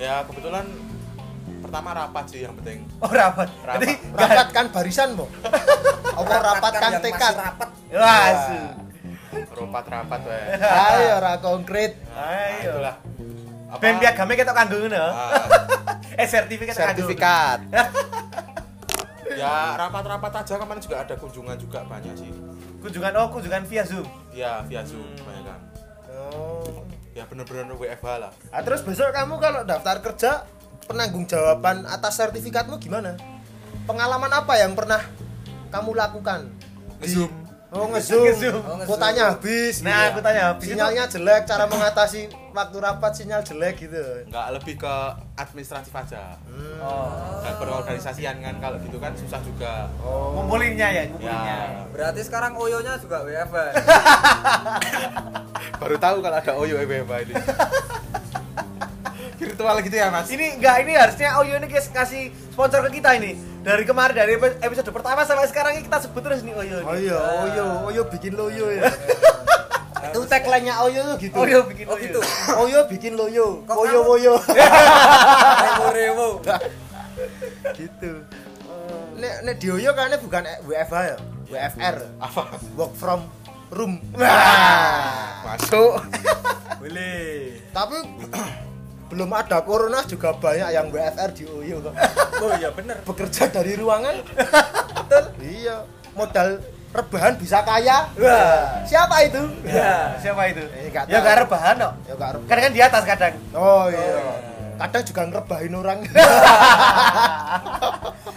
D: ya kebetulan pertama rapat sih yang penting
A: oh rapat jadi
B: rapat kan barisan po apa rapat kan
C: yang
B: tekad
C: masih Rapat.
A: wah asu
D: rapat rapat weh
B: ayo ora konkret
D: nah,
A: Ayo.
D: itulah Apa-
A: ben piagamnya kita kanggo ngono
D: Ah,
A: eh sertifikat kanggo.
B: sertifikat
D: ya rapat-rapat aja kemarin juga ada kunjungan juga banyak sih
A: kunjungan oh kunjungan via zoom
D: ya via zoom kebanyakan
B: oh
D: ya bener-bener WFH lah
B: Ah, terus besok kamu kalau daftar kerja penanggung jawaban atas sertifikatmu gimana? Pengalaman apa yang pernah kamu lakukan?
D: Nge-zoom.
B: Oh ngezoom.
A: Nge-zoom.
B: Oh, nge-zoom. Kuotanya habis.
A: Nah,
B: ya.
A: kuotanya habis
B: Sinyalnya jelek, cara mengatasi waktu rapat sinyal jelek gitu.
D: nggak lebih ke administratif aja
A: oh
D: nggak berorganisasian kan kalau gitu kan susah juga
A: ngumpulinnya ya ngumpulinnya
D: ya
C: Berarti sekarang oyonya juga WFH.
D: baru tahu kalau ada Oyo WFH ini virtual gitu ya mas
A: Ini enggak ini harusnya Oyo ini guys kasih sponsor ke kita ini. Dari kemarin dari episode pertama sampai sekarang ini kita sebut terus nih Oyo
B: Oh
A: ini.
B: iya, oh iya, oh iya bikin loyo ya. Itu tagline-nya Oyo tuh gitu.
A: Oyo bikin
C: Oh
A: Oyo.
C: gitu.
B: Oyo bikin loyo.
C: Kok
B: Oyo
C: kamu-
B: woyo.
C: Rewo rewo.
B: gitu. Nek nek di Oyo kan bukan WFH ya, WFR.
D: apa
B: Work from room.
D: masuk
C: Boleh.
B: Tapi belum ada corona juga banyak yang WFR di UU kok.
C: Oh iya bener.
B: Bekerja dari ruangan. Betul. Iya. Modal rebahan bisa kaya.
A: Wah.
B: Siapa itu?
A: Ya, siapa itu?
B: Eh, nggak
A: ya
B: tahu.
A: enggak rebahan kok.
B: Ya gak rebahan.
A: Karena kan di atas kadang.
B: Oh iya. Kadang juga ngerebahin orang.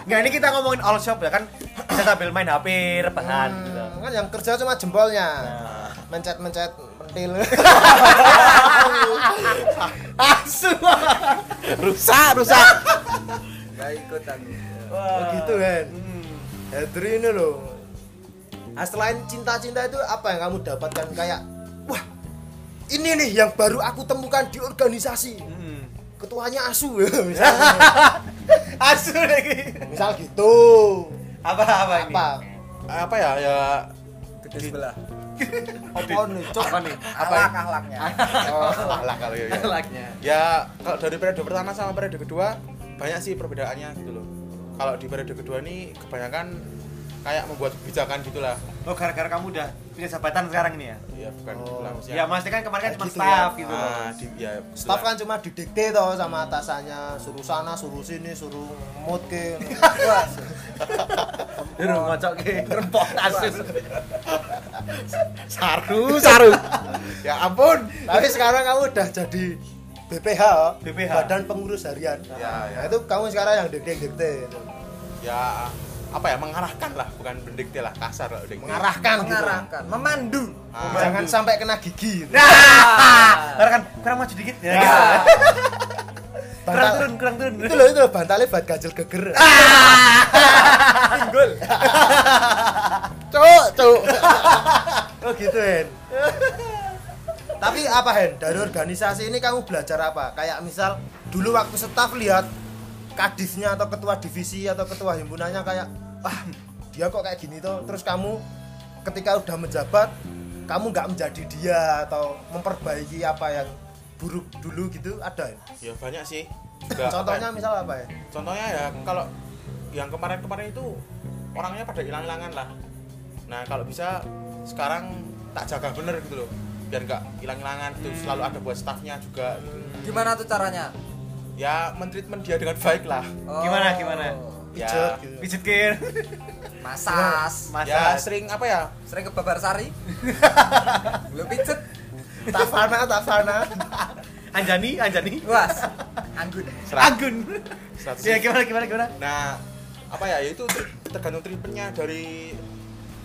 A: Enggak Nah, ini kita ngomongin all shop ya kan bisa sambil main HP rebahan gitu. Nah.
B: kan yang kerja cuma jempolnya. Mencet-mencet pentil.
A: Asu. Nah.
D: rusak rusak
C: Gak ikut aku.
B: Oh, gitu kan.
A: Hmm.
B: Hendri ini loh. Nah, selain cinta-cinta itu apa yang kamu dapatkan kayak wah ini nih yang baru aku temukan di organisasi
A: Hmm.
B: ketuanya asu ya, misal,
A: Asu lagi.
B: misal gitu
A: Apa apa ini?
B: apa
D: apa ya ya
C: Gede sebelah.
B: apa nih cok
A: Apa nih?
C: Apa
D: ini?
C: akhlaknya?
D: oh, alah kalau ya, ya.
A: Lagnya.
D: ya kalau dari periode pertama sama periode kedua banyak sih perbedaannya gitu loh kalau di periode kedua ini kebanyakan kayak membuat kebijakan gitulah
A: Oh gara-gara kamu udah punya jabatan sekarang ini ya?
D: ya bukan
B: Oh.
D: gitulah maksudnya.
A: Ya maksudnya kan kemarin kan
B: Kayak
A: cuma
B: gitu
A: staff
B: ya.
A: gitu loh.
D: Ah, di, ya,
B: staff
D: itulah.
B: kan cuma didikte toh sama atasannya suruh sana suruh sini suruh mood ke
C: Wah,
A: Dulu ngocok ke rempok asus.
D: saru saru ya ampun
B: tapi sekarang kamu udah jadi BPH, oh.
A: BPH.
B: Badan Pengurus Harian.
D: Ya, ya.
B: Nah, itu kamu sekarang yang dikte-dikte gitu.
D: ya apa ya mengarahkan lah bukan mendikte lah kasar lah udah
B: Mengarahkan, gitu.
C: mengarahkan, memandu.
D: Ah,
B: Jangan sampai kena gigi. Gitu.
A: Nah, karena kan kurang maju dikit ya. gitu. Kurang
B: Bantal-
A: turun, kurang turun.
B: itu loh itu loh bantalnya buat ganjel geger
C: Singgul.
B: Ah. cuk cuk oh gitu Hen tapi apa Hen dari organisasi ini kamu belajar apa kayak misal dulu waktu staf lihat kadifnya atau ketua divisi atau ketua himpunannya kayak wah dia kok kayak gini tuh terus kamu ketika udah menjabat kamu nggak menjadi dia atau memperbaiki apa yang buruk dulu gitu ada Hen?
D: ya banyak sih Juga,
B: contohnya
D: apa
B: misal apa ya
D: ya, contohnya ya kalau yang kemarin-kemarin itu orangnya pada hilang-hilangan lah nah kalau bisa sekarang tak jaga bener gitu loh biar nggak hilang-hilangan itu
B: Hmm.
D: selalu ada buat staffnya juga gitu.
C: Gimana tuh caranya?
D: ya mentreatment dia dengan baik lah
C: Oh,
A: Gimana, gimana?
B: pijet
D: Ya.
B: gitu
A: pijet kir
C: masas
A: Masa
D: ya sering apa ya
C: sering ke babar sari lu pijet
B: tafana tafana
A: Anjani Anjani
C: luas anggun
D: Serat-
A: Agun
D: seratus
A: ya gimana gimana gimana
D: nah apa ya itu tri- tergantung treatmentnya dari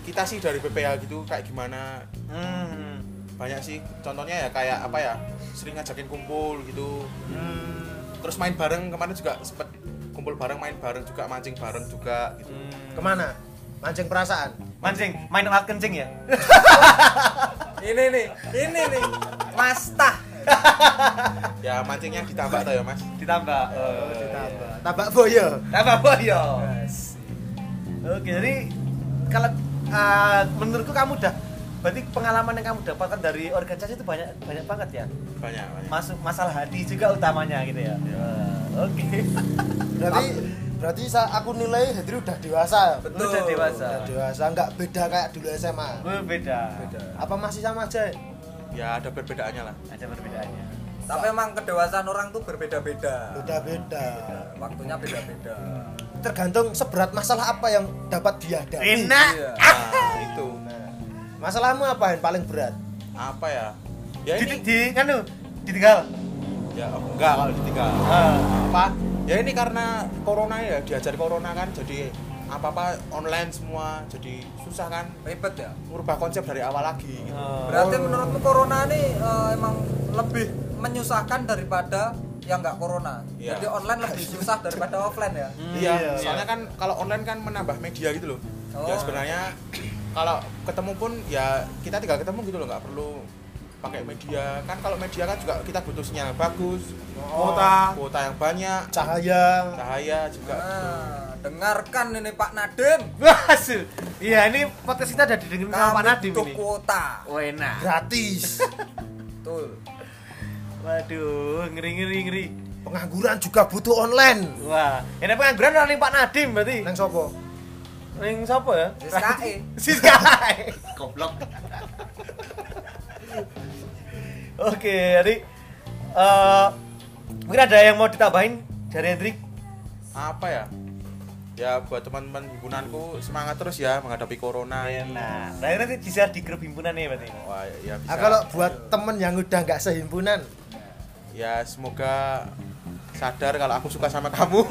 D: kita sih dari BPH gitu kayak gimana
A: hmm.
D: banyak sih contohnya ya kayak apa ya sering ngajakin kumpul gitu
A: Hmm.
D: terus main bareng kemarin juga sempet kumpul bareng main bareng juga mancing bareng juga gitu
A: Hmm.
B: kemana mancing perasaan
A: mancing main alat kencing ya
C: ini nih ini nih mas tah
D: ya mancingnya ditambah tau ya mas
A: ditambah oh,
B: tabak tabak boyo
A: tambah boyo oke jadi kalau ah, menurutku kamu udah berarti pengalaman yang kamu dapatkan dari organisasi itu banyak banyak banget ya
D: banyak banyak
A: masuk masalah hati juga utamanya gitu ya Eh, oke
B: berarti berarti sa- aku nilai Hendri udah dewasa ya?
C: Betul.
A: udah dewasa
B: udah dewasa nggak beda kayak dulu SMA
A: berbeda
C: Beda.
B: apa masih sama aja
D: ya ada perbedaannya lah
A: ada perbedaannya
C: tapi emang kedewasaan orang tuh berbeda-beda
B: beda beda
C: waktunya beda-beda
B: tergantung seberat masalah apa yang dapat dihadapi
A: enak Ah,
C: iya
D: nah itu
B: Nah, masalahmu apa yang paling berat
D: apa ya ya
A: di,
D: ini
A: di kanu ditinggal
D: ya enggak kalau ditinggal
A: Ah.
D: apa ya ini karena corona ya diajar corona kan jadi apa apa online semua jadi susah kan
C: ribet ya
D: merubah konsep dari awal lagi gitu.
A: Oh.
C: berarti menurutmu corona ini eh, emang lebih menyusahkan daripada yang nggak corona
D: Iya.
C: jadi online lebih susah daripada offline ya
D: iya, soalnya kan kalau online kan menambah media gitu loh
C: Oh.
D: ya sebenarnya kalau ketemu pun ya kita tinggal ketemu gitu loh nggak perlu pakai media kan kalau media kan juga kita butuh sinyal bagus kuota kuota yang banyak
B: cahaya
D: cahaya juga
C: nah, dengarkan ini Pak Nadim
A: Wah, su. Iya, ini podcast kita ada didengerin sama Pak
C: kami
A: Nadiem
C: butuh
A: ini.
C: kuota
A: Oh, enak.
B: gratis
C: betul
A: Waduh, ngeri-ngeri ngeri.
B: pengangguran juga butuh online
A: Wah, enak pengangguran orang yang Pak Nadiem berarti.
B: neng sopo
A: Ning siapa ya?
C: SKE.
A: SKE. Goblok. Oke, jadi eh mungkin ada yang mau ditambahin dari Hendrik?
D: apa ya ya buat teman-teman himpunanku semangat terus ya menghadapi corona
A: Nah, nah nanti bisa di grup himpunan ya berarti.
D: wah ya bisa
B: Ah, kalau buat temen yang udah nggak sehimpunan
D: ya semoga sadar kalau aku suka sama kamu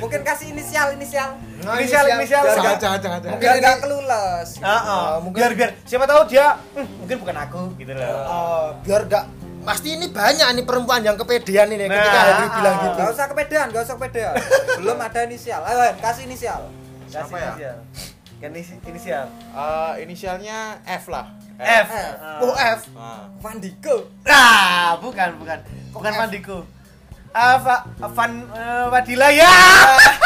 C: mungkin kasih inisial inisial
B: Nah,
A: Inisial, inisial.
B: Biar
D: jangan
B: nggak-
D: jangan jangan, jangan.
C: biar
B: ini-
C: nggak kelulus
A: Ah, ah.
B: Oh, mungkin-
A: biar biar siapa tahu dia "Hmm, mungkin bukan aku gitu loh.
B: Oh, biar nggak pasti ini banyak nih perempuan yang kepedean
A: Nah,
B: ini ketika Henry
A: ah,
B: bilang gitu.
C: Gak usah kepedean, gak usah kepedean. Belum ada inisial. Ayo, Hen, kasih inisial.
A: Kasih
D: Siapa ya?
A: inisial. Kan isi- inisial.
D: Eh, inisialnya F lah
A: F.
C: F.
B: Oh, F.
D: Ah.
C: Vandiko.
A: Ah, bukan bukan. Bukan Pandiko. Ah, Fa- Van eh, Fadila ya.